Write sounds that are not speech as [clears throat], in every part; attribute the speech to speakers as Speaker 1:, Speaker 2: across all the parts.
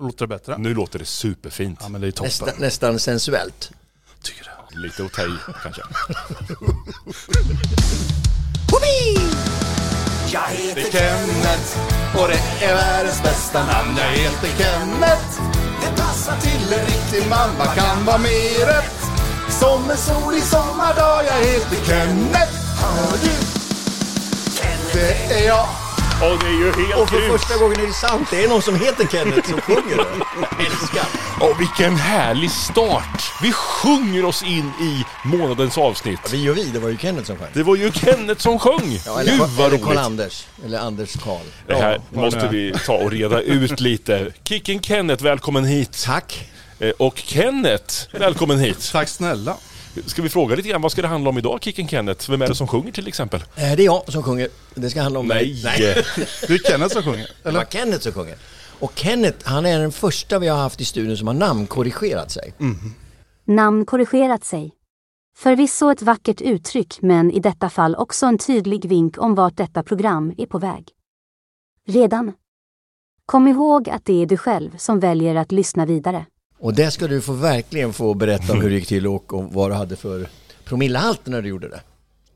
Speaker 1: Låter det bättre?
Speaker 2: Nu låter det superfint.
Speaker 1: Ja men det är toppen.
Speaker 3: Nästan, nästan sensuellt.
Speaker 1: Tycker jag.
Speaker 2: Lite att ta i
Speaker 4: [laughs]
Speaker 2: kanske.
Speaker 4: Jag heter Kenneth och det är världens bästa namn Jag heter Kenneth Det passar till en riktig man, vad kan vara mer rätt? Som en solig sommardag, jag heter Kenneth Hör du? Det är jag
Speaker 2: Och det är ju helt
Speaker 3: Och för
Speaker 2: grymt.
Speaker 3: första gången är det sant. Det är någon som heter Kenneth som sjunger det. [laughs] Älskar.
Speaker 2: Och vilken härlig start! Vi sjunger oss in i månadens avsnitt.
Speaker 3: Vi och vi, det var ju Kenneth som sjöng.
Speaker 2: Det var ju Kenneth som sjöng!
Speaker 3: Ja, eller
Speaker 2: Gud vad
Speaker 3: eller Karl
Speaker 2: roligt!
Speaker 3: Anders. Eller Anders Karl.
Speaker 2: Det här
Speaker 1: vad
Speaker 2: måste
Speaker 1: det är.
Speaker 2: vi ta och reda ut lite. Kicken Kenneth, välkommen hit!
Speaker 3: Tack.
Speaker 2: Eh, Och Kenneth, välkommen hit!
Speaker 1: Tack snälla.
Speaker 2: Ska vi fråga lite grann, vad ska det handla om idag, Kicken Kenneth? Vem är det som sjunger till exempel?
Speaker 3: Eh, Det är jag som sjunger. Det ska handla om mig. [laughs]
Speaker 1: Det är Kenneth som sjunger.
Speaker 3: Det var
Speaker 1: Eller?
Speaker 3: Kenneth som sjunger. Och Kenneth, han är den första vi har haft i studion som har namnkorrigerat sig.
Speaker 5: Namn korrigerat sig. Förvisso ett vackert uttryck men i detta fall också en tydlig vink om vart detta program är på väg. Redan. Kom ihåg att det är du själv som väljer att lyssna vidare.
Speaker 3: Och det ska du få verkligen få berätta om hur det gick till och, och vad du hade för promillehalt när du gjorde det.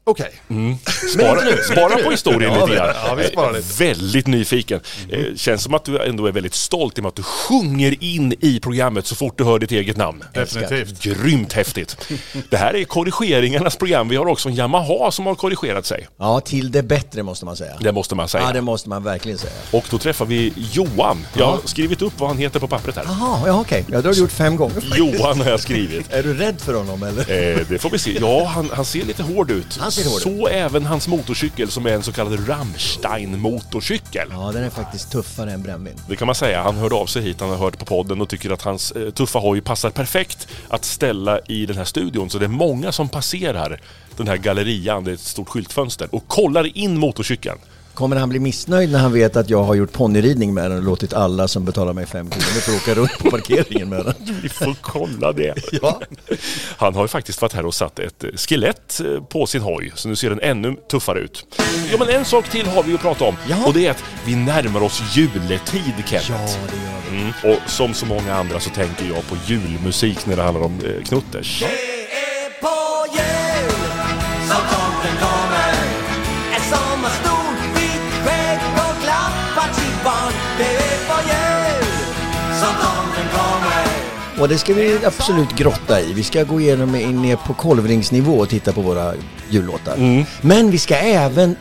Speaker 1: Okej.
Speaker 3: Mm.
Speaker 2: Spara, spara på historien
Speaker 1: Ja,
Speaker 2: lite grann.
Speaker 1: ja, vi sparar
Speaker 2: Eh,
Speaker 1: lite. Mm.
Speaker 2: Väldigt nyfiken. Eh, Känns som att du ändå är väldigt stolt i och med att du sjunger in i programmet så fort du hör ditt eget namn.
Speaker 1: Definitivt.
Speaker 2: Grymt häftigt. Det här är korrigeringarnas program. Vi har också en Yamaha som har korrigerat sig.
Speaker 3: Ja, till det bättre måste man säga.
Speaker 2: Det måste man säga.
Speaker 3: Ja, det måste man verkligen säga.
Speaker 2: Och då träffar vi Johan. Jag har skrivit upp vad han heter på pappret här.
Speaker 3: Jaha, ja okej. Ja, det har du gjort fem gånger.
Speaker 2: Johan har jag skrivit.
Speaker 3: Är du rädd för honom eller?
Speaker 2: Eh, det får vi se. Ja, han, han ser lite hård ut.
Speaker 3: Han ser hård
Speaker 2: Så även hans motorcykel som är en så kallad Rammstein-motorcykel.
Speaker 3: Ja, den är faktiskt tuffare än brännvin.
Speaker 2: Det kan man säga. Han hörde av sig hit, han har hört på podden och tycker att hans eh, tuffa hoj passar perfekt att ställa i den här studion. Så det är många som passerar den här gallerian, det är ett stort skyltfönster, och kollar in motorcykeln.
Speaker 3: Kommer han bli missnöjd när han vet att jag har gjort ponnyridning med den och låtit alla som betalar mig fem kronor för att åka runt på parkeringen med den?
Speaker 2: Vi får kolla det.
Speaker 3: [laughs] Ja.
Speaker 2: Han har ju faktiskt varit här och satt ett eh, skelett eh, på sin hoj, så nu ser den ännu tuffare ut. Ja, men en sak till har vi att prata om
Speaker 3: Ja.
Speaker 2: och det är att vi närmar oss juletid, Kenneth.
Speaker 3: Ja, det gör vi.
Speaker 2: Mm. Och som så många andra så tänker jag på julmusik när det handlar om eh, Knutters.
Speaker 6: på jul som tomten kommer En sommarstol, vitt skägg och klappar till barn Det är på jul som tomten kommer
Speaker 3: Och det ska vi absolut grotta i. Vi ska gå igenom in ner på kolvringsnivå och titta på våra jullåtar. Men vi ska även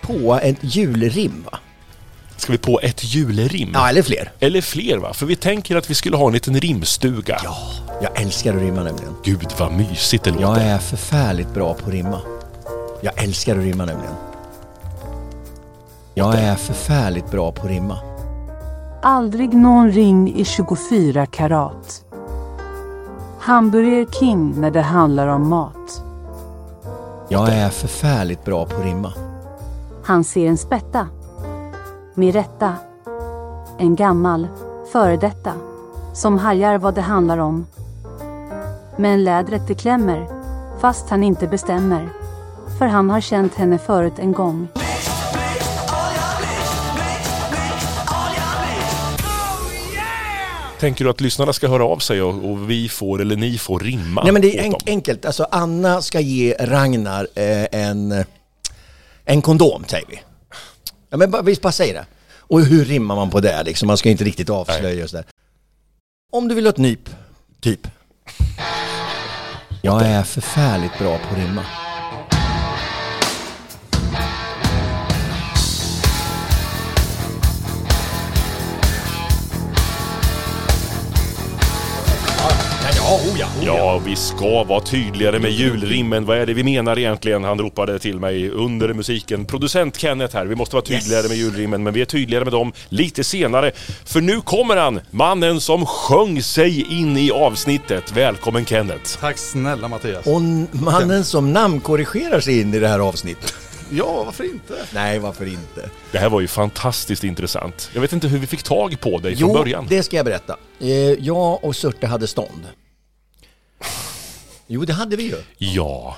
Speaker 3: på ett julrim va?
Speaker 2: Ska vi på ett julrim?
Speaker 3: Ja, eller fler.
Speaker 2: Eller fler va? För vi tänker att vi skulle ha en liten rimstuga.
Speaker 3: Ja, jag älskar att rimma nämligen.
Speaker 2: Gud vad mysigt det låter.
Speaker 3: Jag är förfärligt bra på att rimma. Jag älskar att rimma nämligen. Jag är förfärligt bra på att rimma.
Speaker 7: Aldrig någon ring i 24 karat. Hamburger King när det handlar om mat.
Speaker 3: Jag är förfärligt bra på att rimma.
Speaker 5: Han ser en spätta. Med rätta. En gammal, före detta. Som hajar vad det handlar om. Men lädret det klämmer. Fast han inte bestämmer. För han har känt henne förut en gång.
Speaker 2: Tänker du att lyssnarna ska höra av sig och, och vi får, eller ni får rimma
Speaker 3: Nej men det är
Speaker 2: åt
Speaker 3: enk-
Speaker 2: dem?
Speaker 3: enkelt. Alltså Anna ska ge Ragnar eh, en, en kondom säger vi. Ja men bara- vi bara säger det. Och hur rimmar man på det liksom? Man ska ju inte riktigt avslöja och sådär. Om du vill ha ett nyp, typ. Jag är förfärligt bra på att rimma. Ja, oh ja.
Speaker 2: Ja, vi ska vara tydligare med julrimmen. Vad är det vi menar egentligen? Han ropade till mig under musiken. Producent Kenneth här. Vi måste vara tydligare med julrimmen, men vi är tydligare med dem lite senare. För nu kommer han, mannen som sjöng sig in i avsnittet. Välkommen Kenneth!
Speaker 1: Tack snälla Mattias.
Speaker 3: Och n- mannen som namnkorrigerar sig in i det
Speaker 2: [laughs]
Speaker 3: här avsnittet.
Speaker 1: Ja, varför inte?
Speaker 3: Nej, varför inte?
Speaker 2: Det här var ju fantastiskt intressant. Jag vet inte hur vi fick tag på dig från början.
Speaker 3: det ska jag berätta. Eh, Jag och Surte hade stånd. Jo, det hade vi ju.
Speaker 2: Ja.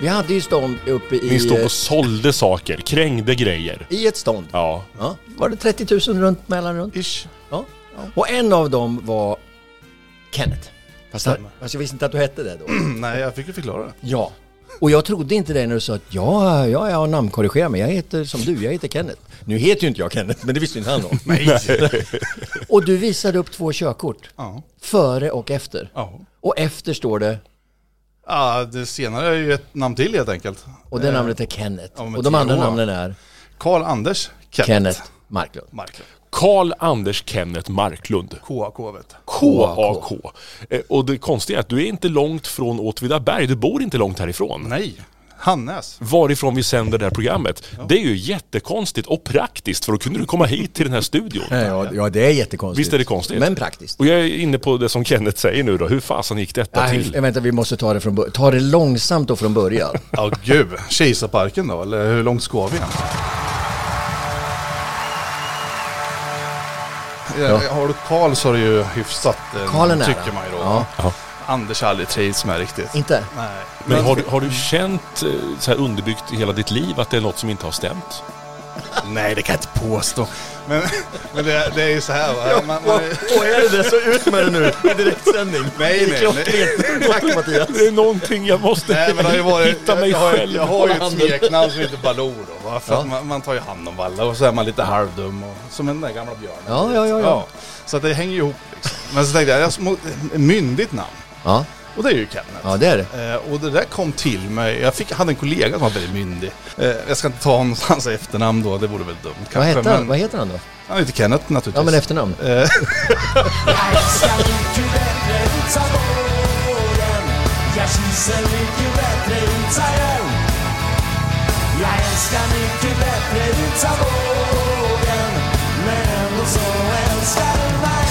Speaker 3: Vi hade ju stånd uppe i...
Speaker 2: Ni stod
Speaker 3: eh,
Speaker 2: och sålde saker, krängde grejer.
Speaker 3: I ett stånd. Ja.
Speaker 2: Ja.
Speaker 3: Var det 30 000 runt mellan runt?
Speaker 1: Ish.
Speaker 3: Ja. Och en av dem var Kenneth. Fast, han, fast jag visste inte att du hette det då.
Speaker 1: [clears throat] Nej, jag fick ju förklara det.
Speaker 3: Ja. Och jag trodde inte det när du sa att ja, ja, jag har namnkorrigerat mig. Jag heter som du, jag heter Kenneth. Nu heter ju inte jag Kenneth, men det visste ju inte han
Speaker 1: [laughs]
Speaker 3: om. [laughs] och du visade upp två körkort.
Speaker 1: Ja.
Speaker 3: Före och efter.
Speaker 1: Ja.
Speaker 3: Och efter står det,
Speaker 1: ja, det senare är ju ett namn till helt enkelt. Eh,
Speaker 3: och det namnet är Kenneth.
Speaker 1: ja, men
Speaker 3: och de andra
Speaker 1: TH.
Speaker 3: namnen är
Speaker 1: Karl-Anders Kenneth.
Speaker 3: Kenneth Marklund.
Speaker 1: Marklund.
Speaker 2: Karl Anders Kenneth Marklund.
Speaker 1: KAK vet du.
Speaker 2: KAK. Eh, Och det konstiga är att du är inte långt från Åtvidaberg, du bor inte långt härifrån.
Speaker 1: Nej, Hannes.
Speaker 2: varifrån vi sänder det här programmet. Det är ju jättekonstigt och praktiskt för då kunde du komma hit till den här studion.
Speaker 3: Eh, Ja, ja, det är jättekonstigt.
Speaker 2: Visst är det konstigt?
Speaker 3: Men praktiskt.
Speaker 2: Och jag är inne på det som Kenneth säger nu då, hur fasen gick detta
Speaker 3: Nej, eh,
Speaker 2: till?
Speaker 3: vänta, vi måste ta det från början. Ta det långsamt då
Speaker 2: [laughs]
Speaker 3: från början.
Speaker 1: Ja, [laughs] gud. Kisaparken då, eller hur långt ska vi än? Ja. Har du Karl så är det ju hyfsat, eh,
Speaker 3: Karl är nära.
Speaker 1: tycker man ju då.
Speaker 3: Ja.
Speaker 2: Ja.
Speaker 1: Anders har aldrig trivts med riktigt.
Speaker 3: Inte?
Speaker 1: Nej.
Speaker 2: Men har du, har du känt eh, så här underbyggt i hela ditt liv att det är något som inte har stämt?
Speaker 1: Nej, det kan jag inte påstå. Men, [laughs] men det, det är ju så här va. Man, man,
Speaker 3: Och är det det så ut med det nu i direktsändning.
Speaker 1: nej, nej, nej.
Speaker 3: Klockrent. Tack Mattias.
Speaker 2: Det är någonting jag måste
Speaker 1: Nej, men det har ju varit,
Speaker 2: hitta mig
Speaker 1: jag, har, ju-
Speaker 2: själv.
Speaker 1: jag har ju ett
Speaker 3: handen.
Speaker 1: smeknamn som heter Baloo då. Va? För
Speaker 3: Ja.
Speaker 1: att man, man tar ju hand om alla och så är man lite halvdum. Och, som den där gamla björnen.
Speaker 3: Ja, ja, ja, ja.
Speaker 1: Så att det hänger ju ihop liksom. Men så tänkte jag, jag små, myndigt namn.
Speaker 3: Ja,
Speaker 1: Och det är ju Kenneth.
Speaker 3: ja det är det.
Speaker 1: Eh, och det där kom till mig. Jag fick, hade en kollega som var väldigt myndig. Eh, jag ska inte ta hans, hans [laughs] efternamn då, det vore väl dumt kanske.
Speaker 3: Vad heter han,
Speaker 1: Men,
Speaker 3: Vad heter han då?
Speaker 1: han heter Kenneth naturligtvis.
Speaker 3: Ja men efternamn.
Speaker 2: Eh.
Speaker 6: älskar inte bättre ut sa våren Jag kysser inte bättre ut sa jag Jag älskar inte bättre ut sa våren Men ändå så älskar du mig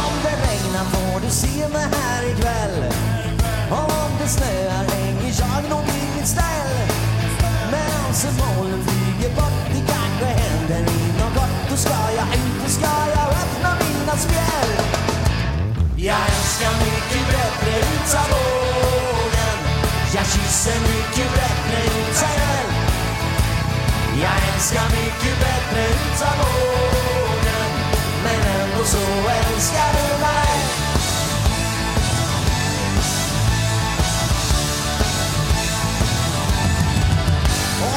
Speaker 6: Om det regnar får du se mig här ikväll Om det snöar hänger jag nog i mitt ställ men så molnen flyger bort, det kanske händer inom kort Då ska jag ut, då ska jag öppna mina spjäll Jag älskar mycket bättre ut sa våren Jag kysser mycket bättre ut sa jag Jag älskar mycket bättre ut sa våren Men ändå så älskar du mig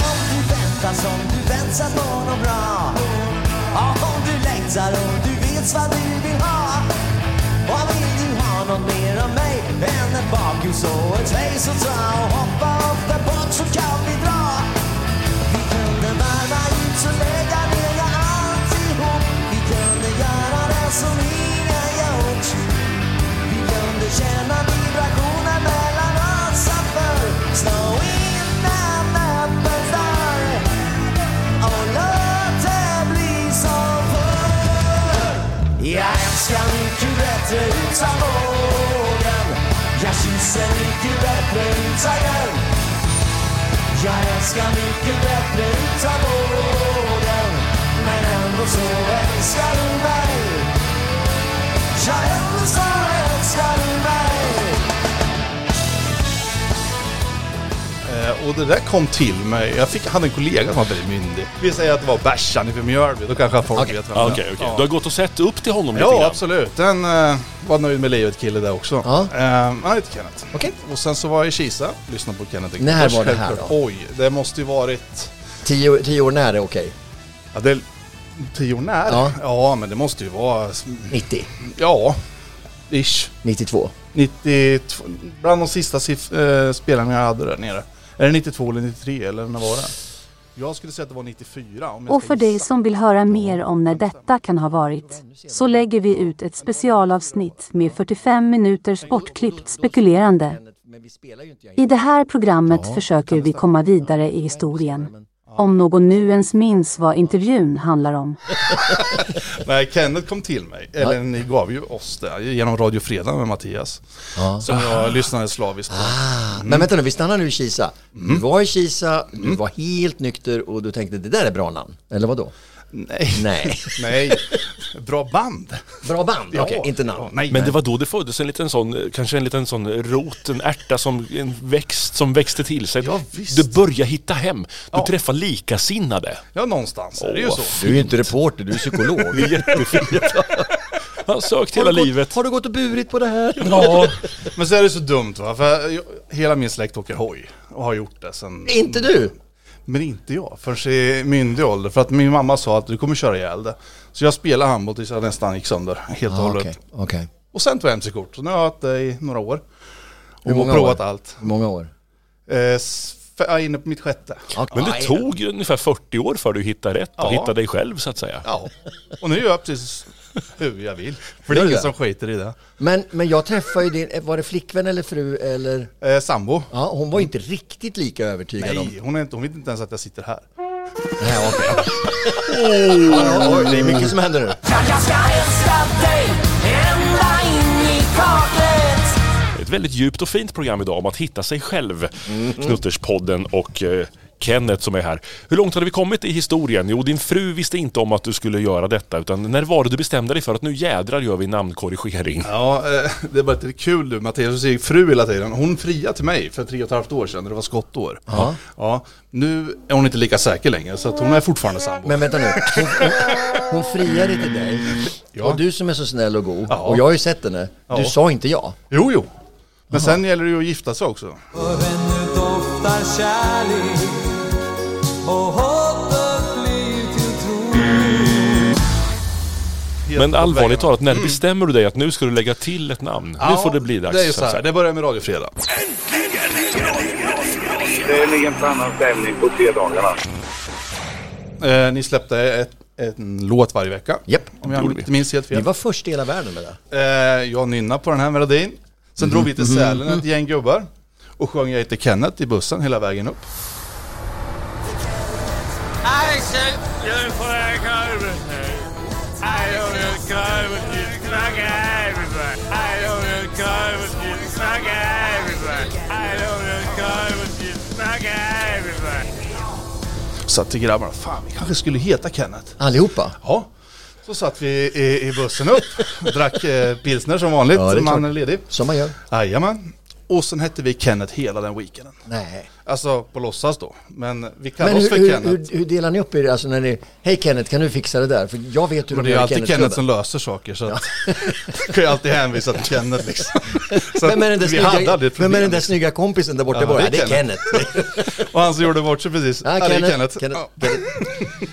Speaker 6: Om du väntar som du väntar på något bra Ja, Om du längtar och du vet vad du vill ha Och vill du ha något mer av mig än ett bakhus och ett face och dra och hoppa ofta bort så kan vi dra Vi kunde varva ut så lägga ner alltihop Vi kunde göra det som ingen gjort vi kunde känna vibrationen mellan oss att förr Slå in en öppen dörr och låt det bli som förr Jag älskar mycket bättre utan vågen Jag kysser mycket bättre utan hjälp Jag älskar mycket bättre utan vågen Men ändå så älskar du mig jag älskar, älskar mig
Speaker 1: Eh, och det där kom till mig. Jag fick, hade en kollega som var väldigt myndig. Vi säger att det var Bärsan ifrån Mjölby, då kanske folk vet vem
Speaker 2: Ja,
Speaker 1: det
Speaker 2: Okej,
Speaker 1: är.
Speaker 2: Ah, okej. Du har gått och sett upp till honom lite
Speaker 1: Ja,
Speaker 2: grann.
Speaker 1: absolut. Den eh, var nöjd med livet kille där också.
Speaker 3: Ja.
Speaker 1: Eh, han heter Kenneth.
Speaker 3: Okej.
Speaker 1: Och sen så var jag i Kisa, lyssnade på Kenneth.
Speaker 3: När var det här
Speaker 1: Självklart.
Speaker 3: då?
Speaker 1: Oj, det måste ju varit...
Speaker 3: Tio, tio år nära, okej.
Speaker 1: Ja, det är tio år när.
Speaker 3: Ja.
Speaker 1: ja, men det måste ju vara...
Speaker 3: 90,
Speaker 1: Ja, ish.
Speaker 3: 92.
Speaker 1: 92, bland de sista siff- eh, spelarna jag hade där nere. Är det 92 eller 93 eller när var det? Jag skulle säga att det var 94 om jag
Speaker 5: Och
Speaker 1: ska
Speaker 5: för dig
Speaker 1: gissa.
Speaker 5: som vill höra mer om när detta kan ha varit, så lägger vi ut ett specialavsnitt med 45 minuter bortklippt spekulerande. I det här programmet försöker vi komma vidare i historien. Om någon nu ens minns vad intervjun handlar om.
Speaker 1: Nej, Kenneth kom till mig. Eller ni gav ju oss det genom Radio Fredag med Mattias. Som
Speaker 3: Ah.
Speaker 1: jag lyssnade slaviskt på.
Speaker 3: Men vänta nu, vi stannar nu i
Speaker 2: Mm.
Speaker 3: Kisa. Du var i Kisa, du var helt nykter och du tänkte det där är bra namn. Eller vad då?
Speaker 1: Nej.
Speaker 3: Nej.
Speaker 1: Nej. Bra band.
Speaker 3: [laughs] Bra band,
Speaker 1: Ja.
Speaker 3: okej. Inte
Speaker 1: Ja,
Speaker 3: namn.
Speaker 1: nej,
Speaker 2: Men det var då det föddes en liten sån, eh, kanske en liten sån rot, en ärta som en växt som växte till sig.
Speaker 1: Ja, visst.
Speaker 2: Du börjar hitta hem, du
Speaker 1: Ja.
Speaker 2: träffar [laughs] likasinnade.
Speaker 1: Ja, någonstans är det ju
Speaker 2: Åh,
Speaker 1: så.
Speaker 3: Du är ju inte reporter, du
Speaker 2: [laughs]
Speaker 3: är psykolog.
Speaker 2: Jag har sökt hela livet.
Speaker 3: Har du gått och burit på det här?
Speaker 2: Ja,
Speaker 1: Men så är det så dumt va, för jag, hela min släkt åker hoj och har gjort det sen...
Speaker 3: Inte du!
Speaker 1: Men inte jag förrän i myndig ålder, för att min mamma sa att du kommer köra ihjäl det. Så jag spelade handboll tills jag nästan gick sönder helt och
Speaker 3: Ah,
Speaker 1: hållet.
Speaker 3: Okej, okej.
Speaker 1: Och sen tog jag mc-kort, så nu har jag haft det i några år. Och
Speaker 3: många
Speaker 1: provat
Speaker 3: år?
Speaker 1: allt.
Speaker 3: Hur många år?
Speaker 1: Eh, s- f- jag är inne på mitt sjätte.
Speaker 2: men det tog ju ungefär 40 år för dig att hitta rätt och
Speaker 1: Ja.
Speaker 2: hitta dig själv så att säga.
Speaker 1: Ja. Och nu gör jag precis hur jag vill. För
Speaker 3: Gör du
Speaker 1: det är ingen
Speaker 3: det?
Speaker 1: som skiter i det.
Speaker 3: Men, men jag träffade ju din, var det flickvän eller fru eller?
Speaker 1: Eh, sambo.
Speaker 3: Ja, hon var ju inte riktigt lika övertygad om...
Speaker 1: Nej, hon, är inte, hon vet inte ens att jag sitter här.
Speaker 3: Nej, okej. Ja, det är mycket som händer nu.
Speaker 6: Ja, jag ska älska dig ända in i kaklet
Speaker 2: Ett väldigt djupt och fint program idag om att hitta sig själv. Knutterspodden och eh, Kenneth som är här. Hur långt hade vi kommit i historien? Jo, din fru visste inte om att du skulle göra detta utan när var det du bestämde dig för att nu jädrar gör vi namnkorrigering?
Speaker 1: Ja, eh, det är bara lite kul nu. Mattias och sin fru hela tiden. Hon friade till mig för tre och ett halvt år sedan när det var skottår. Ja. nu är hon inte lika säker längre så att hon är fortfarande sambo.
Speaker 3: Men vänta nu, hon, hon, hon friade till dig. Och du som är så snäll och god,
Speaker 1: Ja.
Speaker 3: och jag har ju sett henne, du
Speaker 1: Ja.
Speaker 3: sa inte ja.
Speaker 1: Jo, jo. Men sen gäller det ju att gifta sig också.
Speaker 6: Och ännu doftar kärlek Och hoppet blir till tro
Speaker 1: Helt
Speaker 2: Men
Speaker 1: åt
Speaker 2: allvarligt
Speaker 1: vägen. Mm.
Speaker 2: talat, när bestämmer du dig att nu ska du lägga till ett namn? nu får det bli dags.
Speaker 1: Det är ju så
Speaker 2: att
Speaker 1: här,
Speaker 2: säga.
Speaker 1: det börjar med Radio Fredag.
Speaker 8: Det ligger inte annan stämning på fredagarna.
Speaker 1: Eh, ni släppte ett, en låt varje vecka.
Speaker 3: Japp,
Speaker 1: om jag
Speaker 2: gjorde
Speaker 1: inte
Speaker 2: vi.
Speaker 1: minns helt
Speaker 3: Vi
Speaker 1: fel.
Speaker 3: var först i hela världen med det.
Speaker 1: Eh, jag nynnade på den här melodin. Sen drog vi till
Speaker 3: Mhm.
Speaker 1: Sälen ett gäng gubbar och sjöng Jag heter Kenneth i bussen hela vägen upp.
Speaker 9: Axel, nu får jag korven här. I don't know korven till knacka everybody. I don't know korven till knacka everybody. I don't know korven till knacka everybody.
Speaker 1: Satt till grabbarna, fan vi kanske skulle heta Kenneth.
Speaker 3: Allihopa.
Speaker 1: Ja, så satt vi i, i bussen upp, drack eh, pilsner som vanligt,
Speaker 3: Ja, det är
Speaker 1: man
Speaker 3: klart.
Speaker 1: är ledig.
Speaker 3: Som man gör.
Speaker 1: Jajamän. Och sen hette vi Kenneth hela den weekenden.
Speaker 3: Nej.
Speaker 1: Alltså på låtsas då, men vi kallar
Speaker 3: Men
Speaker 1: oss
Speaker 3: hur,
Speaker 1: för
Speaker 3: hur,
Speaker 1: Kenneth.
Speaker 3: hur, hur delar ni upp er, alltså när ni, hej Kenneth kan du fixa det där? För jag vet hur
Speaker 1: men
Speaker 3: de gör
Speaker 1: det är ju
Speaker 3: i
Speaker 1: alltid Kenneth som
Speaker 3: Kennethklubben.
Speaker 1: löser saker så att... [laughs] Jag kan ju alltid hänvisa till
Speaker 3: [laughs]
Speaker 1: Kenneth liksom. Så
Speaker 3: Vem är den där
Speaker 1: att vi hade
Speaker 3: snygga,
Speaker 1: aldrig ett
Speaker 3: vem är den
Speaker 1: problem.
Speaker 3: där snygga kompisen där borta i
Speaker 1: Ja,
Speaker 3: bara?
Speaker 1: det är
Speaker 3: Det är Kenneth.
Speaker 1: Kenneth. [laughs] Och han som gjorde bort sig precis.
Speaker 3: Ja,
Speaker 1: det är
Speaker 3: Kenneth,
Speaker 1: Kenneth.
Speaker 3: Kenneth,
Speaker 1: Ja.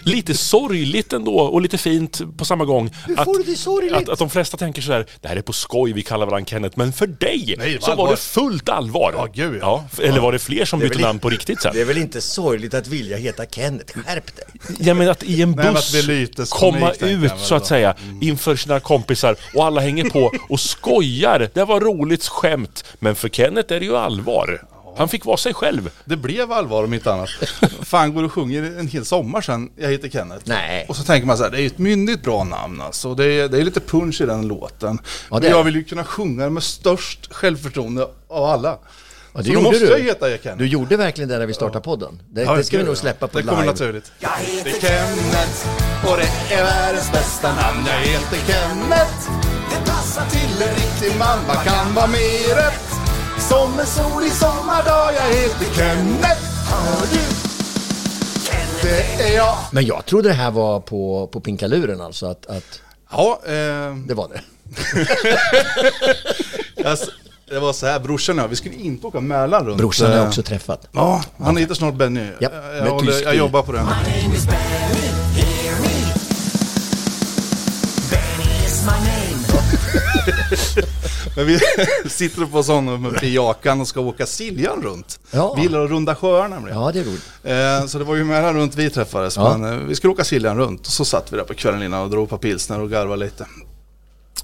Speaker 2: Lite sorgligt ändå och lite fint på samma gång.
Speaker 3: Hur får du det sorgligt?
Speaker 2: Att, att de flesta tänker så här, det här är på skoj, vi kallar varandra Kenneth. Men för dig
Speaker 1: Nej, det var
Speaker 2: så var
Speaker 1: allvar.
Speaker 2: det fullt allvar.
Speaker 1: Ja, gud,
Speaker 2: ja.
Speaker 1: ja.
Speaker 2: Eller var det fler som
Speaker 3: Det är
Speaker 2: bytte
Speaker 3: väl-
Speaker 2: namn på riktigt sen?
Speaker 3: Det är väl inte sorgligt att vilja heta Kenneth? Skärp dig.
Speaker 2: Ja men att i en
Speaker 1: men
Speaker 2: buss
Speaker 1: att vi lytes
Speaker 2: komma
Speaker 1: komik, tänker jag
Speaker 2: ut
Speaker 1: väl
Speaker 2: så att
Speaker 1: då.
Speaker 2: säga
Speaker 1: Mm.
Speaker 2: inför sina kompisar och alla hänger på och skojar. Det var roligt skämt. Men för Kenneth är det ju allvar. Han fick vara sig själv.
Speaker 1: Det blev allvar om inte annat. Fan går och sjunger en hel sommar sen, jag heter Kenneth.
Speaker 3: Nej.
Speaker 1: Och så tänker man så här, det är ju ett myndigt bra namn alltså. Det är, det är lite punch i den låten.
Speaker 3: Ja, det
Speaker 1: Men
Speaker 3: är
Speaker 1: jag
Speaker 3: det.
Speaker 1: vill ju kunna sjunga den med störst självförtroende av alla.
Speaker 3: Ja, det
Speaker 1: så då
Speaker 3: gjorde
Speaker 1: måste
Speaker 3: du.
Speaker 1: jag heta jag Kenneth.
Speaker 3: Du gjorde verkligen det när vi startade podden. Det,
Speaker 1: Ja,
Speaker 3: det ska vi
Speaker 1: gud,
Speaker 3: nog
Speaker 1: ja.
Speaker 3: släppa på
Speaker 1: Det kommer
Speaker 3: live.
Speaker 1: naturligt.
Speaker 4: Jag heter Kenneth och det är världens bästa namn. Jag heter Kenneth. Det passar till en riktig man. Vad kan vara mer rätt? Som en solig sommardag. Jag heter Kenneth. Hör du? Det är jag.
Speaker 3: Men jag trodde det här var på, på pinkaluren alltså, att, att
Speaker 1: Ja, eh,
Speaker 3: det var det.
Speaker 1: alltså, det var så här, brorsan och jag, vi skulle inte åka Mälaren runt.
Speaker 3: Brorsan har
Speaker 1: eh,
Speaker 3: jag också träffat.
Speaker 1: Ja, han heter snart Benny.
Speaker 3: Japp,
Speaker 1: jag,
Speaker 3: med
Speaker 1: jag, håller,
Speaker 3: tysk
Speaker 1: jag
Speaker 3: i.
Speaker 1: jobbar på den.
Speaker 6: My name is Benny, hear me Benny is my name
Speaker 1: Men vi [laughs] sitter på sån med piakan och ska åka Siljan runt.
Speaker 3: Ja.
Speaker 1: Vi gillar att runda sjöar nämligen.
Speaker 3: Ja, det är roligt.
Speaker 1: Eh, så det var ju Mälaren runt vi träffades.
Speaker 3: Ja.
Speaker 1: Men eh, vi skulle åka Siljan runt och så satt vi där på kvällen innan och drog på pilsner och garvade lite.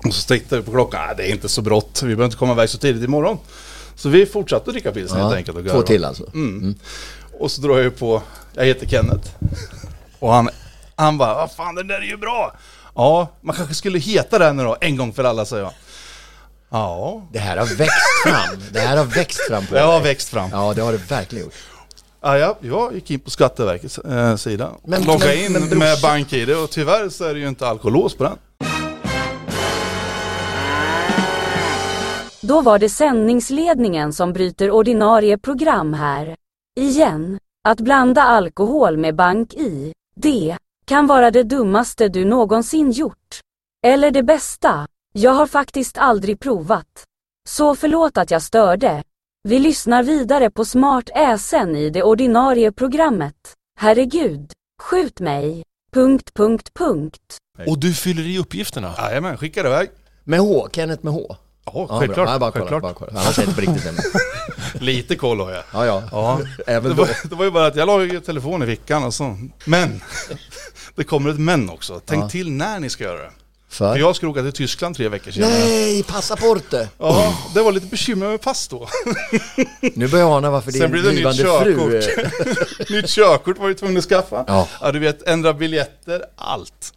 Speaker 1: Och så tittade vi på klockan, nej det är inte så brått, vi behöver inte komma iväg så tidigt imorgon. Så vi fortsatte dricka pilsner helt
Speaker 3: Ja,
Speaker 1: enkelt och
Speaker 3: två
Speaker 1: garva. Mm.
Speaker 3: till alltså.
Speaker 1: Och så drar jag ju på, jag heter Kenneth. Och han, han bara, vad fan den där är ju bra! Ja, man kanske skulle heta den nu då, en gång för alla säger jag. Ja,
Speaker 3: Det här har växt fram. Det här har växt fram på
Speaker 1: det har
Speaker 3: dig.
Speaker 1: växt fram.
Speaker 3: Ja, det har det verkligen gjort.
Speaker 1: Ja, jag, jag gick in på Skatteverkets eh, sida och
Speaker 3: Men-
Speaker 1: loggade
Speaker 3: men-
Speaker 1: in
Speaker 3: men brorsan-
Speaker 1: med BankID och tyvärr så är det ju inte alkolås på den.
Speaker 10: Då var det sändningsledningen som bryter ordinarie program här. Igen, att blanda alkohol med bank i, det kan vara det dummaste du någonsin gjort. Eller det bästa. Jag har faktiskt aldrig provat. Så förlåt att jag störde. Vi lyssnar vidare på Smart Äsen i det ordinarie programmet. Herregud, skjut mig. Punkt, punkt, punkt.
Speaker 2: Och du fyller i uppgifterna?
Speaker 1: Jajamän, skickar iväg.
Speaker 3: Med H, Kenneth med H.
Speaker 1: Ja,
Speaker 3: Ja,
Speaker 1: självklart.
Speaker 3: Bra. Ja, bara kolla,
Speaker 1: självklart.
Speaker 3: Bara kolla. Annars är det inte på riktigt än.
Speaker 1: Lite koll har jag.
Speaker 3: Ja, ja.
Speaker 1: Ja,
Speaker 3: Även
Speaker 1: det
Speaker 3: då.
Speaker 1: var, det var ju bara att jag la ju telefonen i fickan och så. Men, [laughs] det kommer ett men också. Tänk
Speaker 3: Ja.
Speaker 1: till när ni ska göra det.
Speaker 3: För?
Speaker 1: För jag skulle åka till Tyskland tre veckor sedan.
Speaker 3: Nej, passaporte!
Speaker 1: Ja, det var lite bekymmer med pass då.
Speaker 3: Nu börjar jag ana varför
Speaker 1: [laughs] Sen
Speaker 3: din
Speaker 1: blir det nytt
Speaker 3: blivande fru...
Speaker 1: körkort.
Speaker 3: eh,
Speaker 1: [laughs] Nytt körkort var vi tvungna att skaffa.
Speaker 3: Ja.
Speaker 1: du vet, ändra biljetter, allt.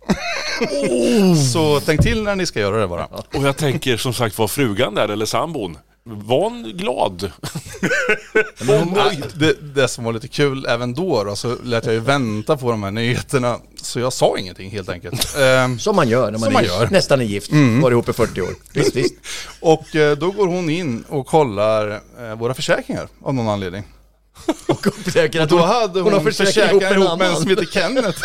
Speaker 3: Oh.
Speaker 1: [laughs] Så tänk till när ni ska göra det bara.
Speaker 2: Och jag tänker som sagt var frugan där, eller sambon. Var hon glad?
Speaker 1: Ja, Det, det som var lite kul även då, då så lät jag ju vänta på de här nyheterna. Så jag sa ingenting helt [laughs] enkelt. Ehm,
Speaker 3: Som man gör när man,
Speaker 1: Som
Speaker 3: är
Speaker 1: man
Speaker 3: gift.
Speaker 1: gör. Mm.
Speaker 3: nästan är gift. Var ihop i 40 år. Visst, visst.
Speaker 1: och eh, då går hon in och kollar eh, våra försäkringar av någon anledning.
Speaker 3: [laughs] Och upptäcker att
Speaker 1: Då hade hon,
Speaker 3: har försäkrat
Speaker 1: försäkringar ihop,
Speaker 3: annan.
Speaker 1: med en som heter Kenneth.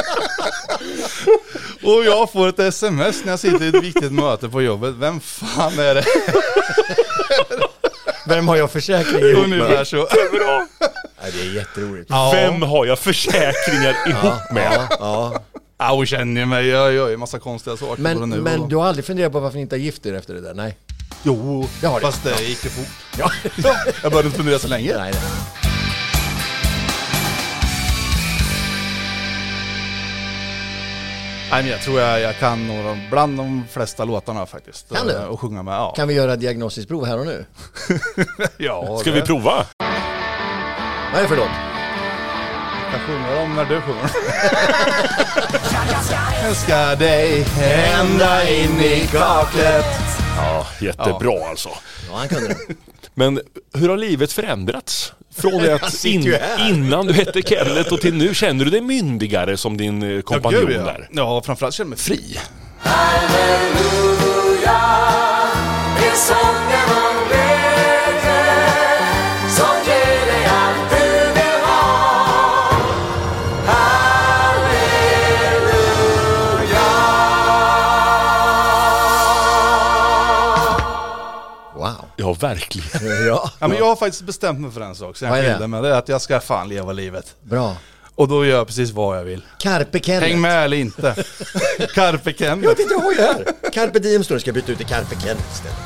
Speaker 1: [laughs] och jag får ett sms när jag sitter i ett viktigt möte på jobbet. Vem fan är det?
Speaker 3: Vem har jag försäkring
Speaker 1: [laughs]
Speaker 3: ihop med?
Speaker 1: Ungefär så. [laughs]
Speaker 2: Bra.
Speaker 3: Nej, det är jätteroligt.
Speaker 2: Vem har jag [laughs] försäkringar ihop med?
Speaker 3: Ja, ja.
Speaker 1: Ja, hon känner ju mig. Jag gör ju massa konstiga saker både
Speaker 3: Men,
Speaker 1: nu och då.
Speaker 3: men du har aldrig funderat på varför ni inte har gift er efter det där? Nej.
Speaker 1: Jo,
Speaker 3: Det har det.
Speaker 1: fast det gick ju fort.
Speaker 3: Ja. [laughs]
Speaker 1: [laughs] Jag började inte fundera så länge.
Speaker 3: Nej, nej.
Speaker 1: Nej, men jag tror jag, jag kan några, bland de flesta låtarna faktiskt.
Speaker 3: Kan du?
Speaker 1: Eh, Och sjunga med, ja.
Speaker 3: Kan vi göra ett diagnostiskt prov här och nu?
Speaker 1: ja
Speaker 2: Ska
Speaker 1: det-
Speaker 2: vi prova?
Speaker 3: Nej, förlåt.
Speaker 1: Jag kan sjunga dem när du [laughs] sjunger dem. Ska dig ända in i kaklet.
Speaker 2: Ja, jättebra alltså.
Speaker 3: Ja, han kunde det.
Speaker 2: Men hur har livet förändrats? [laughs] Från det
Speaker 3: Han
Speaker 2: att
Speaker 3: sitter ju
Speaker 2: in,
Speaker 3: här.
Speaker 2: innan du hette Kenneth och till nu, känner du dig myndigare som din eh, kompanjon
Speaker 1: ja.
Speaker 2: där?
Speaker 1: Ja, framförallt känner jag mig fri.
Speaker 3: Wow. [laughs]
Speaker 2: Ja, verkligen.
Speaker 3: Ja,
Speaker 1: Ja, men jag har faktiskt bestämt mig för en sak sen
Speaker 3: Vad är
Speaker 1: jag
Speaker 3: det?
Speaker 1: skilde mig. Det är att jag ska fan leva livet.
Speaker 3: bra.
Speaker 1: Och då gör jag precis vad jag vill.
Speaker 3: Carpe Kenneth.
Speaker 1: Häng med eller inte. [laughs] Carpe
Speaker 3: Jag
Speaker 1: Kenneth.
Speaker 3: tänkte, jag har ju här. Carpe Diem står det. Ska jag byta ut till Carpe Kenneth istället?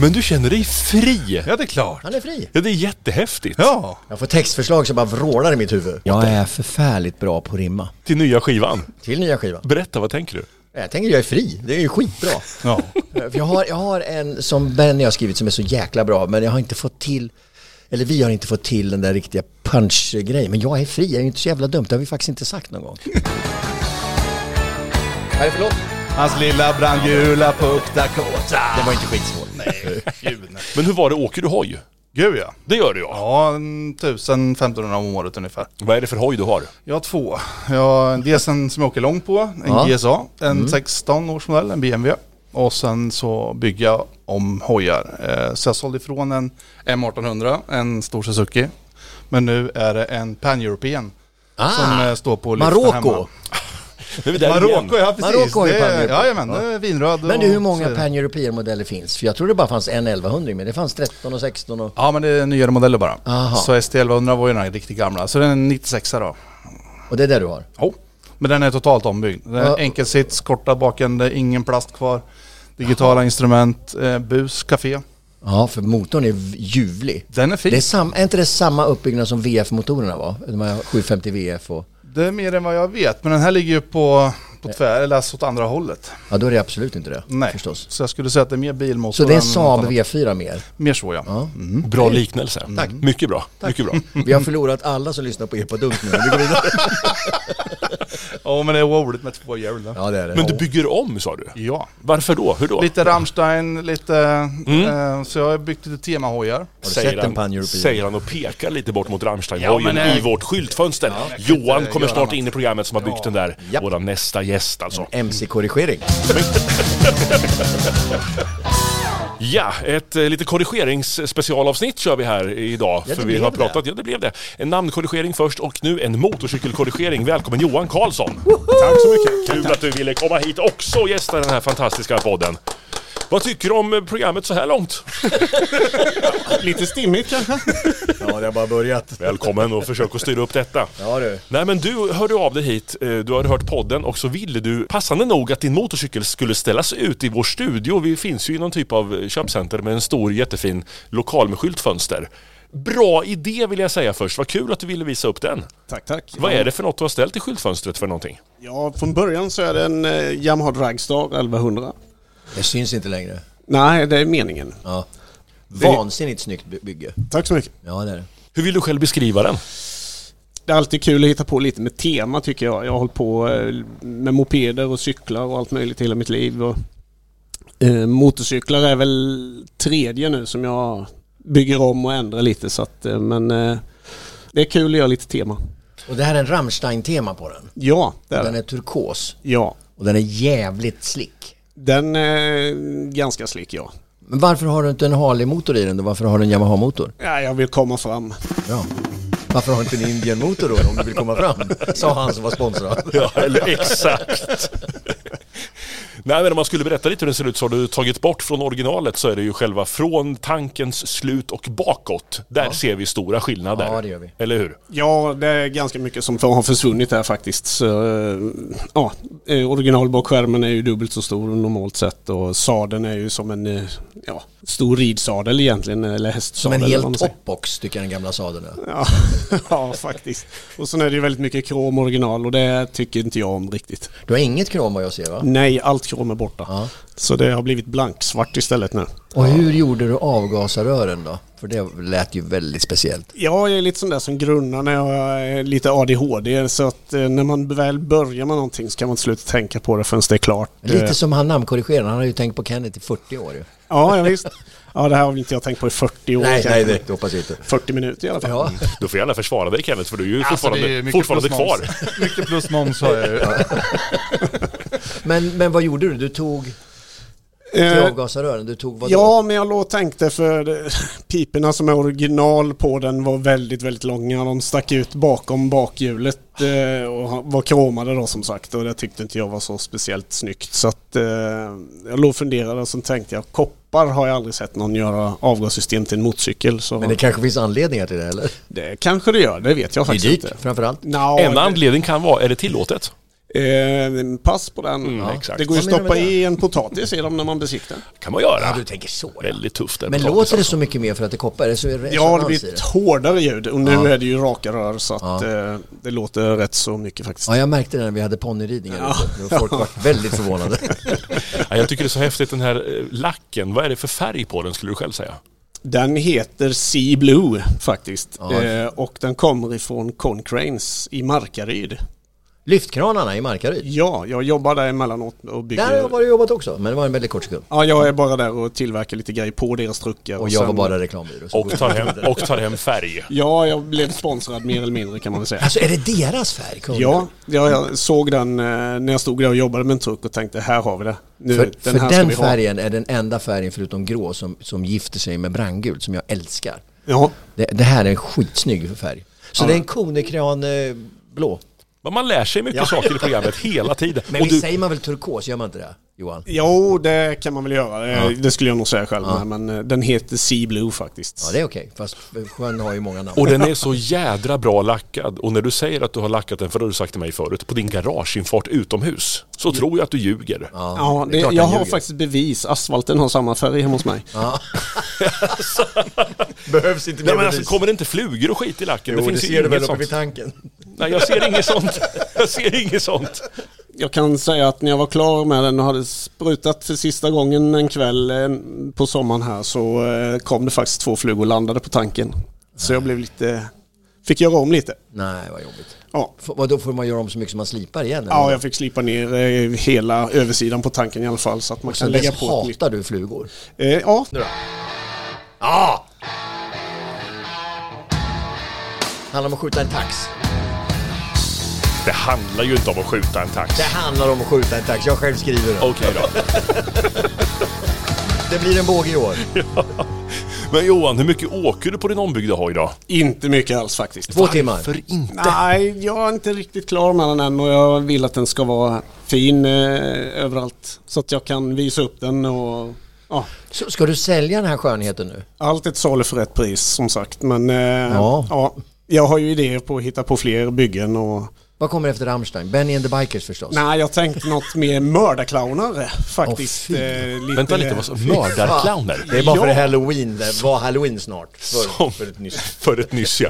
Speaker 2: Men du känner dig fri!
Speaker 1: Ja, det är klart.
Speaker 3: Han är fri.
Speaker 2: Ja, det är jättehäftigt.
Speaker 1: Ja.
Speaker 3: Jag får textförslag som bara vrålar i mitt huvud. Jag är förfärligt bra på att rimma.
Speaker 2: Till nya skivan.
Speaker 3: Till nya skivan.
Speaker 2: Berätta, vad tänker du?
Speaker 3: Jag tänker jag är fri, det är ju skitbra.
Speaker 1: Ja.
Speaker 3: För [laughs] jag, har, jag har en som Benny har skrivit som är så jäkla bra, men jag har inte fått till, eller vi har inte fått till den där riktiga punch-grejen. Men jag är fri, jag är ju inte så jävla dumt, det har vi faktiskt inte sagt någon gång. Nej, förlåt.
Speaker 1: Hans lilla brandgula puck Dakota.
Speaker 3: Det var inte skitsvårt.
Speaker 1: Nej, gud nej.
Speaker 2: Men hur var det, åker du hoj?
Speaker 1: Gud ja.
Speaker 2: Det gör du ja.
Speaker 1: Ja, en 1500 om året ungefär.
Speaker 2: Vad är det för hoj du har?
Speaker 1: Jag har två. Jag har dels en som jag åker lång på, en
Speaker 3: Ja.
Speaker 1: GSA, en 16 års modell, en BMW. Och sen så bygger jag om hojar. Eh, Så jag sålde ifrån en M1800, en stor Suzuki. Men nu är det en Pan-European som eh, står på listan hemma.
Speaker 3: Marocko!
Speaker 2: Nu är vi där igen.
Speaker 1: Marocko, ja precis.
Speaker 3: Marocko är ju
Speaker 1: Det
Speaker 3: Pan-European.
Speaker 1: Jajamän, det är vinröd.
Speaker 3: Men
Speaker 1: och
Speaker 3: du, hur
Speaker 1: så
Speaker 3: många
Speaker 1: vidare.
Speaker 3: pan-europeer-modeller finns? För jag tror det bara fanns en 1100, men det fanns 13 och 16 och...
Speaker 1: Ja men det är nyare modeller bara.
Speaker 3: Aha.
Speaker 1: Så ST1100 var ju den här riktigt gamla. Så den är en 96 då.
Speaker 3: Och det är det du har?
Speaker 1: Jo. Men den är totalt ombyggd. Den är
Speaker 3: Ja.
Speaker 1: enkelsits, korta bakände, ingen plast kvar. Digitala instrument, eh, bus, café.
Speaker 3: Ja, för motorn är v- ljuvlig.
Speaker 1: Den är fin.
Speaker 3: Det är, sam, är inte det samma uppbyggnad som VF-motorerna var? De här 750 VF och...
Speaker 1: Det är mer än vad jag vet. Men den här ligger ju på
Speaker 3: Eh.
Speaker 1: på tvär, eller alltså åt andra hållet.
Speaker 3: Ja, då är det absolut inte det.
Speaker 1: Nej.
Speaker 3: Förstås.
Speaker 1: Så jag skulle säga att det är mer bilmotor
Speaker 3: Så det är en
Speaker 1: än något
Speaker 3: Saab
Speaker 1: annat.
Speaker 3: V4 mer.
Speaker 1: Mer så ja.
Speaker 3: Ja.
Speaker 1: Mm.
Speaker 2: Bra liknelse.
Speaker 3: Tack.
Speaker 2: Mycket bra. Mycket
Speaker 1: [laughs]
Speaker 2: bra.
Speaker 3: Vi har förlorat alla som lyssnar på er på dunk nu. Vi går vidare.
Speaker 1: Ja men det är roligt med två hjul där.
Speaker 3: [laughs] Ja, det är det.
Speaker 2: Men du bygger om sa du?
Speaker 1: Ja.
Speaker 2: Varför då? Hur då?
Speaker 1: Lite Rammstein, lite... Eh, så jag har byggt lite temahojar.
Speaker 3: Har du sett en pan-european?
Speaker 2: säger han och pekar lite bort mot rammstein
Speaker 1: Ja, men,
Speaker 2: i
Speaker 1: eh,
Speaker 2: vårt skyltfönster.
Speaker 1: kan
Speaker 2: Johan
Speaker 1: inte
Speaker 2: kommer
Speaker 1: göra
Speaker 2: snart
Speaker 1: annat.
Speaker 2: in i programmet som har byggt den där.
Speaker 3: Japp.
Speaker 2: Vår nästa gäst alltså.
Speaker 3: MC-korrigering.
Speaker 2: Ja, ett eh, lite korrigeringsspecialavsnitt kör vi här idag.
Speaker 3: Ja, det
Speaker 2: för vi
Speaker 3: blev
Speaker 2: har
Speaker 3: det.
Speaker 2: pratat, ja det blev det. En namnkorrigering först och nu en motorcykelkorrigering. Välkommen Johan Karlsson!
Speaker 8: Tack så mycket.
Speaker 2: Kul att du ville komma hit också och gästa den här fantastiska podden. Vad tycker du om eh, programmet så här
Speaker 3: [laughs]
Speaker 2: långt?
Speaker 8: Lite stimmigt kanske?
Speaker 3: Ja, det har bara börjat.
Speaker 2: Välkommen och försök att styra upp detta.
Speaker 3: Ja du.
Speaker 2: Nej men du hörde av dig hit, eh, du hade hört podden och så ville du passande nog att din motorcykel skulle ställas ut i vår studio. Vi finns ju i någon typ av köpcenter med en stor jättefin lokal med skyltfönster. Bra idé vill jag säga först, vad kul att du ville visa upp den.
Speaker 8: Tack, tack.
Speaker 2: Vad är det för något du har ställt i skyltfönstret för någonting?
Speaker 8: Ja, från början så är det en eh, Yamaha Dragstar 1100.
Speaker 3: Det syns inte längre.
Speaker 8: Nej, det är meningen.
Speaker 3: Ja. Vansinnigt snyggt by- bygge.
Speaker 8: Tack så mycket.
Speaker 3: Ja, det är det.
Speaker 2: Hur vill du själv beskriva den?
Speaker 8: Det är alltid kul att hitta på lite med tema tycker jag. Jag har hållit på eh, med mopeder och cyklar och allt möjligt hela mitt liv. Och, eh, motorcyklar är väl tredje nu som jag bygger om och ändrar lite så att, eh, men eh, det är kul att göra lite tema.
Speaker 3: Och det här är en Rammstein-tema på den.
Speaker 8: Ja, det är
Speaker 3: Den
Speaker 8: det.
Speaker 3: är turkos
Speaker 8: Ja,
Speaker 3: och den är jävligt slick.
Speaker 8: den är ganska slick ja.
Speaker 3: Men varför har du inte en Harley-motor i den då? Varför har du en Yamaha-motor?
Speaker 8: ja. Jag vill komma fram.
Speaker 3: Ja. Varför har du inte en Indian-motor då om du vill komma fram? Sa han som var sponsrad.
Speaker 2: Ja, eller exakt. [laughs] Nej men om man skulle berätta lite hur den ser ut så har du tagit bort från originalet så är det ju själva från tankens slut och bakåt. Där ser vi stora skillnader.
Speaker 3: Ja, det gör vi.
Speaker 2: Eller hur?
Speaker 8: Ja, det är ganska mycket som har försvunnit där faktiskt. Så, eh, ja, eh, originalbakskärmen är ju dubbelt så stor normalt sett och sadeln är ju som en eh, ja, stor ridsadel egentligen, eller
Speaker 3: Som
Speaker 8: hästsadel.
Speaker 3: en
Speaker 8: eller vad
Speaker 3: hel
Speaker 8: man säger.
Speaker 3: toppbox tycker jag den gamla sadeln är.
Speaker 8: Ja, [laughs] ja, faktiskt. Och sen är det ju väldigt mycket krom original och det tycker inte jag om riktigt.
Speaker 3: Du har inget krom vad jag ser va?
Speaker 8: Nej, allt krom är borta.
Speaker 3: Ja.
Speaker 8: Så det har blivit blanksvart istället nu.
Speaker 3: Och hur gjorde du avgasrören då? För det lät ju väldigt speciellt.
Speaker 8: Ja, jag är lite sån där som grunnar när jag är lite ADHD. Så att eh, när man väl börjar med någonting så kan man inte sluta tänka på det förrän det är klart.
Speaker 3: Lite
Speaker 8: Eh,
Speaker 3: som han namnkorrigeraren, han har ju tänkt på Kenneth i 40 år ju.
Speaker 8: Ja, ja visst. Ja, det här har väl inte jag tänkt på i 40 år. kanske.
Speaker 3: hoppas jag inte.
Speaker 8: 40 minuter i alla fall.
Speaker 3: Ja,
Speaker 2: Du får gärna försvara dig Kenneth för du är ju
Speaker 1: Alltså, det
Speaker 2: fortfarande,
Speaker 1: är mycket
Speaker 2: fortfarande
Speaker 1: plus
Speaker 2: kvar.
Speaker 1: moms. Mycket plus moms har jag ju.
Speaker 3: men, men vad gjorde du? Du tog till
Speaker 8: Eh,
Speaker 3: avgasrören, du tog vad
Speaker 8: ja, men jag låg och tänkte för eh, piporna som är original på den var väldigt, väldigt långa. De stack ut bakom bakhjulet eh, och var kromade då som sagt. Och det tyckte inte jag var så speciellt snyggt. Så att eh, jag låg och funderade och så tänkte jag koppar har jag aldrig sett någon göra avgassystem till en motorcykel. Så
Speaker 3: Men det kanske finns anledningar till det eller?
Speaker 8: Det kanske det gör, det vet jag faktiskt inte.
Speaker 3: framförallt.
Speaker 8: No,
Speaker 2: En anledning kan vara, är det tillåtet?
Speaker 8: eh, pass på den.
Speaker 2: Ja. exakt.
Speaker 8: Det går ju att
Speaker 3: Vad menar
Speaker 8: stoppa
Speaker 3: du med
Speaker 8: i en potatis i dem när man besiktar.
Speaker 2: kan man göra.
Speaker 3: Ja, du tänker så. ja.
Speaker 2: Väldigt tufft. en
Speaker 3: Men
Speaker 2: potatis,
Speaker 3: låter det
Speaker 2: alltså.
Speaker 3: så mycket mer för att det koppar? Är det så resonans
Speaker 8: Ja, det
Speaker 3: i
Speaker 8: blir ett hårdare ljud och nu är det ju raka rör så att
Speaker 3: Ja.
Speaker 8: eh, det låter rätt så mycket faktiskt.
Speaker 3: Ja, jag märkte det när vi hade ponnyridningar ute. Då Folk var väldigt förvånade.
Speaker 8: [laughs]
Speaker 2: Ja, jag tycker det är så häftigt den här eh, lacken. Vad är det för färg på den skulle du själv säga?
Speaker 8: Den heter Sea Blue faktiskt
Speaker 3: Ja.
Speaker 8: eh, och den kommer ifrån Concranes i Markaryd.
Speaker 3: Lyftkranarna i Markaryd.
Speaker 8: Ja, jag jobbar där emellanåt och
Speaker 3: Där har jag
Speaker 8: bygger.
Speaker 3: varit och jobbat också, men det var en väldigt kort sekund.
Speaker 8: Ja, jag är bara där och tillverkar lite grejer på deras truckar.
Speaker 3: Och jag var
Speaker 8: sen-
Speaker 3: bara reklambyrå. så
Speaker 2: Och
Speaker 3: går
Speaker 2: tar
Speaker 3: vi
Speaker 2: hem,
Speaker 3: vidare.
Speaker 2: och tar hem
Speaker 3: [laughs]
Speaker 2: färg.
Speaker 8: Ja, jag blev sponsrad mer eller mindre kan man väl säga.
Speaker 3: Alltså är det deras färg? Kung?
Speaker 8: Ja, jag, jag såg den eh, när jag stod där och jobbade med en truck och tänkte här har vi det. Nu,
Speaker 3: För den, för
Speaker 8: här ska
Speaker 3: den
Speaker 8: vi ha.
Speaker 3: färgen är den enda färgen förutom grå som, som gifter sig med brandgul som jag älskar.
Speaker 8: Ja.
Speaker 3: Det, det här är en skitsnygg färg. Så det är en konekran eh, blå.
Speaker 2: Men man lär sig mycket saker i programmet hela tiden.
Speaker 3: Men
Speaker 2: Och
Speaker 3: visst
Speaker 2: du-
Speaker 3: säger man väl turkos, gör man inte det? Johan?
Speaker 8: Jo, det kan man väl göra. Eh, Det skulle jag nog säga själv. med, Men eh, den heter Sea Blue faktiskt.
Speaker 3: Ja det är okej, fast sjön har ju många namn.
Speaker 2: Och den är så jädra bra lackad. Och när du säger att du har lackat den, för det har du sagt till mig förut, på din garageinfart utomhus, så tror jag att du ljuger. [laughs]
Speaker 3: [laughs]
Speaker 8: Ja,
Speaker 3: det är
Speaker 8: det,
Speaker 3: klart
Speaker 8: jag
Speaker 3: den
Speaker 8: har
Speaker 3: ljuger.
Speaker 8: faktiskt bevis. Asfalten har samma färg hemma hos mig. [laughs]
Speaker 3: Alltså. Behövs inte
Speaker 2: Nej men alltså kommer det inte flugor och skit i lacken?
Speaker 3: Jo, det
Speaker 2: finns ju
Speaker 3: ser du
Speaker 2: inget
Speaker 3: väl uppe
Speaker 2: sånt. [laughs]
Speaker 3: vid tanken.
Speaker 2: Nej jag ser inget sånt. Jag ser inget sånt.
Speaker 8: jag kan säga att när jag var klar med den och hade sprutat för sista gången en kväll eh, på sommaren här så eh, kom det faktiskt två flugor och landade på tanken. Så jag blev lite... Fick göra om lite.
Speaker 3: Nej, vad jobbigt.
Speaker 8: Ja.
Speaker 3: F- vad då får man göra om så mycket som man slipar igen? eller?
Speaker 8: Ja, jag fick slipa ner eh, hela översidan på tanken i alla fall så att man kan
Speaker 3: Sen
Speaker 8: lägga
Speaker 3: dess
Speaker 8: på ett nytt.
Speaker 3: hatar du flugor.
Speaker 8: Eh, ja,
Speaker 3: Ja! Handlar om att skjuta en tax.
Speaker 2: Det handlar ju inte om att skjuta en tax.
Speaker 3: Det handlar om att skjuta en tax. Jag själv skriver det.
Speaker 2: Okej
Speaker 3: [laughs]
Speaker 2: då.
Speaker 3: Det blir en båge i år.
Speaker 2: Men Johan, hur mycket åker du på din ombyggda hoj då?
Speaker 8: inte mycket alls faktiskt.
Speaker 3: Två timmar.
Speaker 2: För inte.
Speaker 8: Nej, jag är inte riktigt klar med den än och jag vill att den ska vara fin eh, överallt. Så att jag kan visa upp den och... Ja,
Speaker 3: Så ska du sälja den här skönheten nu?
Speaker 8: allt är ett salu för ett pris som sagt. Men eh,
Speaker 3: Ja.
Speaker 8: ja. jag har ju idéer på att hitta på fler byggen och...
Speaker 3: Vad kommer efter Rammstein? Benny and the Bikers förstås.
Speaker 8: Nej, jag tänkte något med mördarclowner faktiskt.
Speaker 3: Åh, fy.
Speaker 8: eh, lite...
Speaker 2: Vänta lite, vad sa Mördarclowner?
Speaker 3: Det är bara för
Speaker 8: Ja.
Speaker 3: halloween. Det var halloween snart. För,
Speaker 2: Som-
Speaker 3: för ett nyss.
Speaker 2: För ett nyss ja.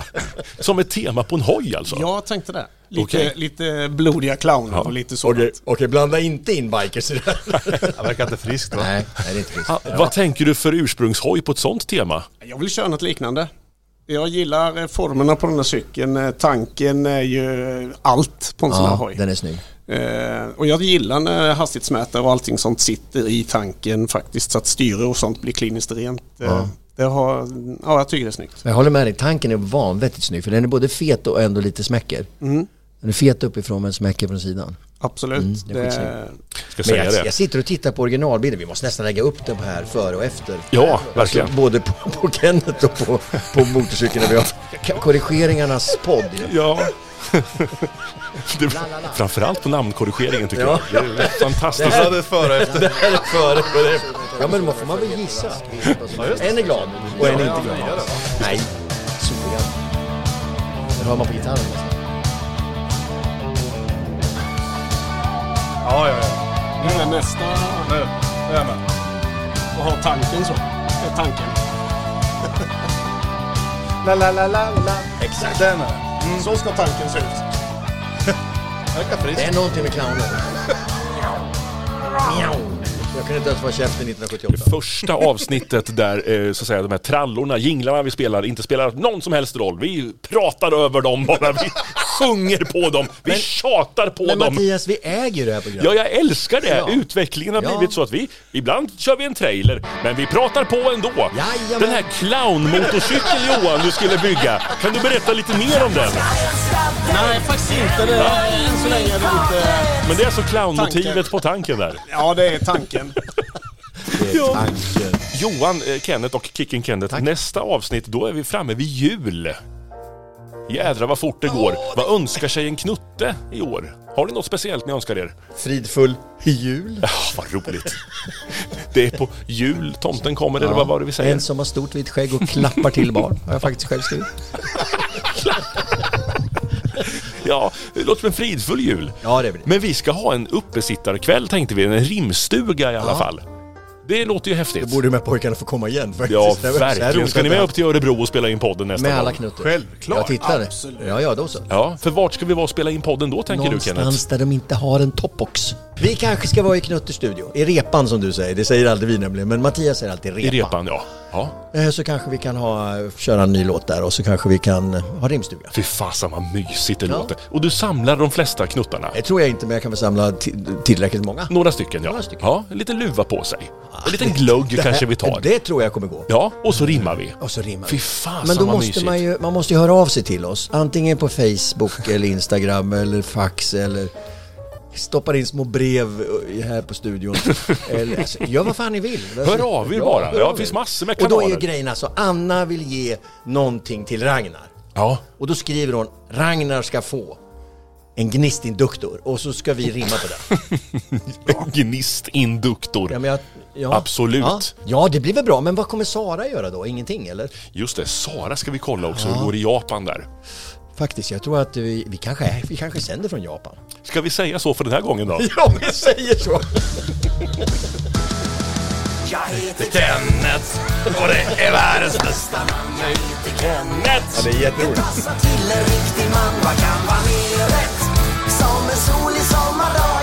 Speaker 2: Som ett tema på en hoj alltså? [laughs]
Speaker 8: Jag tänkte det. Lite,
Speaker 2: Okej.
Speaker 8: lite blodiga clowner och lite sånt.
Speaker 3: Okej, okej, blanda inte in Bikers i det här.
Speaker 1: Det verkar inte friskt va?
Speaker 3: Nej, nej, det är inte friskt.
Speaker 2: Ah, Vad tänker du för ursprungshoj på ett sånt tema?
Speaker 8: Jag vill köra något liknande. Jag gillar eh, formerna på den här cykeln. Eh, Tanken är ju allt på en sån här
Speaker 3: Ja,
Speaker 8: hoj.
Speaker 3: den är snygg.
Speaker 8: Eh, och jag gillar när hastighetsmätare och allting sånt sitter i tanken faktiskt. Så att styre och sånt blir kliniskt rent. Eh, det har, ja, jag tycker det är snyggt.
Speaker 3: Men jag håller med dig, tanken är vanvettigt snygg för den är både fet och ändå lite smäcker. Den är fet uppifrån men smäcker från sidan.
Speaker 8: Absolut.
Speaker 3: Mm, det är
Speaker 8: det
Speaker 2: Ska
Speaker 3: Men
Speaker 2: säga
Speaker 3: jag,
Speaker 2: det.
Speaker 3: jag sitter och tittar på originalbilden, vi måste nästan lägga upp dem här före och efter. Alltså,
Speaker 2: Ja, verkligen.
Speaker 3: Både på, på Kenneth och på, på motorcykeln. där Vi har korrigeringarnas podd.
Speaker 2: Ja. [laughs] Det,
Speaker 3: La, la, la.
Speaker 2: framförallt på namnkorrigeringen tycker
Speaker 3: Ja.
Speaker 2: jag. Det är fantastiskt.
Speaker 1: Ja, det är före och efter.
Speaker 3: Det här är före och det är efter. Ja men då får man väl gissa. En är glad och en är inte glad. Nej, soliga. Det hör man på gitarren. nästan.
Speaker 1: Ja, ja, ja.
Speaker 8: Men nästa
Speaker 1: Nu, nu är jag med.
Speaker 8: och ha tanken så. Eh, Tanken.
Speaker 1: [laughs] La, la, la, la, la. Exakt. Den är. Mm.
Speaker 8: Så ska tanken se ut.
Speaker 1: Verkar frisk.
Speaker 3: Det är någonting med clowner. Jag kunde inte ens vara käften 1978.
Speaker 2: Första avsnittet där eh, så att säga, de här trallorna, jinglarna vi spelar, inte spelar någon som helst roll. Vi pratar över dem bara, vi sjunger på dem, vi tjatar på
Speaker 3: Men
Speaker 2: dem.
Speaker 3: Mattias, vi äger ju det här programmet.
Speaker 2: Ja, jag älskar det!
Speaker 3: Ja.
Speaker 2: Utvecklingen har
Speaker 3: Ja.
Speaker 2: blivit så att vi, ibland kör vi en trailer, men vi pratar på ändå.
Speaker 3: Jajamän.
Speaker 2: Den här clownmotorcykeln Johan du skulle bygga, kan du berätta lite mer om den?
Speaker 8: Nej, faktiskt inte. Det är, än så länge är det inte...
Speaker 2: Men det är alltså clownmotivet
Speaker 8: Tanken.
Speaker 2: på tanken där.
Speaker 8: Ja, det är tanken.
Speaker 3: Det är tanken.
Speaker 2: Johan, eh, Kenneth och Kicken Kenneth, nästa avsnitt då är vi framme vid jul. Jädrar vad fort det går. Vad önskar sig en knutte i år? Har ni något speciellt ni önskar er? [laughs]
Speaker 3: Fridfull jul.
Speaker 2: Ah, vad roligt. Det är på jul tomten kommer, eller vad var det vi säger?
Speaker 3: En som har stort vitt skägg och klappar till barn. Har jag faktiskt själv skrivit.
Speaker 2: Ja, det låter som en fridfull jul.
Speaker 3: Ja, det blir det.
Speaker 2: Men vi ska ha en uppesittarkväll tänkte vi, en rimstuga i alla fall. Det låter ju häftigt.
Speaker 3: Borde de här pojkarna få komma igen faktiskt.
Speaker 2: Ja,
Speaker 3: Det var så här
Speaker 2: verkligen.
Speaker 3: roligt
Speaker 2: Ska ni
Speaker 3: att-
Speaker 2: med upp till Örebro och spela in podden nästa
Speaker 3: Med alla
Speaker 2: gång?
Speaker 3: knutter.
Speaker 1: Självklart.
Speaker 3: Jag tittar. Ja, ja, då så.
Speaker 2: Ja, för vart ska vi vara och spela in podden då tänker du Kenneth?
Speaker 3: Någonstans där de inte har en toppbox. Vi kanske ska vara i Knutters studio. I repan som du säger. Det säger aldrig vi nämligen. Men Mattias säger alltid repa.
Speaker 2: I repan, ja. ja.
Speaker 3: Eh, Så kanske vi kan ha, köra en ny låt där och så kanske vi kan eh, ha rimstuga.
Speaker 2: Fy fasen vad mysigt det
Speaker 3: Ja.
Speaker 2: låter. Och du samlar de flesta knuttarna?
Speaker 3: Det tror jag inte men jag kan väl samla ti- tillräckligt många.
Speaker 2: Några stycken ja.
Speaker 3: Några stycken.
Speaker 2: Ja, en liten luva på sig. En liten glögg kanske vi tar.
Speaker 3: Det tror jag kommer gå.
Speaker 2: Ja, och så rimmar vi.
Speaker 3: Och så rimmar
Speaker 2: Fy
Speaker 3: vi.
Speaker 2: fasen
Speaker 3: Men då
Speaker 2: vad
Speaker 3: måste
Speaker 2: mysigt.
Speaker 3: man ju, man måste ju höra av sig till oss. Antingen på Facebook [laughs] eller Instagram eller fax eller stoppar in små brev eh, här
Speaker 2: [laughs]
Speaker 3: på studion. eller, alltså, gör vad fan ni vill.
Speaker 2: Hör av er bara.
Speaker 3: hör
Speaker 2: Ja,
Speaker 3: av
Speaker 2: det finns
Speaker 3: er.
Speaker 2: massor med
Speaker 3: Och då är
Speaker 2: kanaler.
Speaker 3: ju grejen alltså, Anna vill ge någonting till Ragnar.
Speaker 2: Ja.
Speaker 3: Och då skriver hon, Ragnar ska få en gnistinduktor. Och så ska vi rimma på det.
Speaker 2: Gnistinduktor.
Speaker 3: Ja, men jag, ja.
Speaker 2: Absolut.
Speaker 3: Ja. ja, det blir väl bra. Men vad kommer Sara göra då? Ingenting eller?
Speaker 2: Just det, Sara ska vi kolla också hur det går i Japan där.
Speaker 3: Faktiskt, jag tror att vi, vi, kanske, är- vi kanske sänder från Japan.
Speaker 2: Ska vi säga så för den här gången då?
Speaker 3: Ja, vi säger så!
Speaker 6: Jag heter
Speaker 1: Kenneth. Och det är världens bästa.
Speaker 6: Kenneth. Det passar till en riktig man, vad kan vara mer rätt? Som en solig sommardag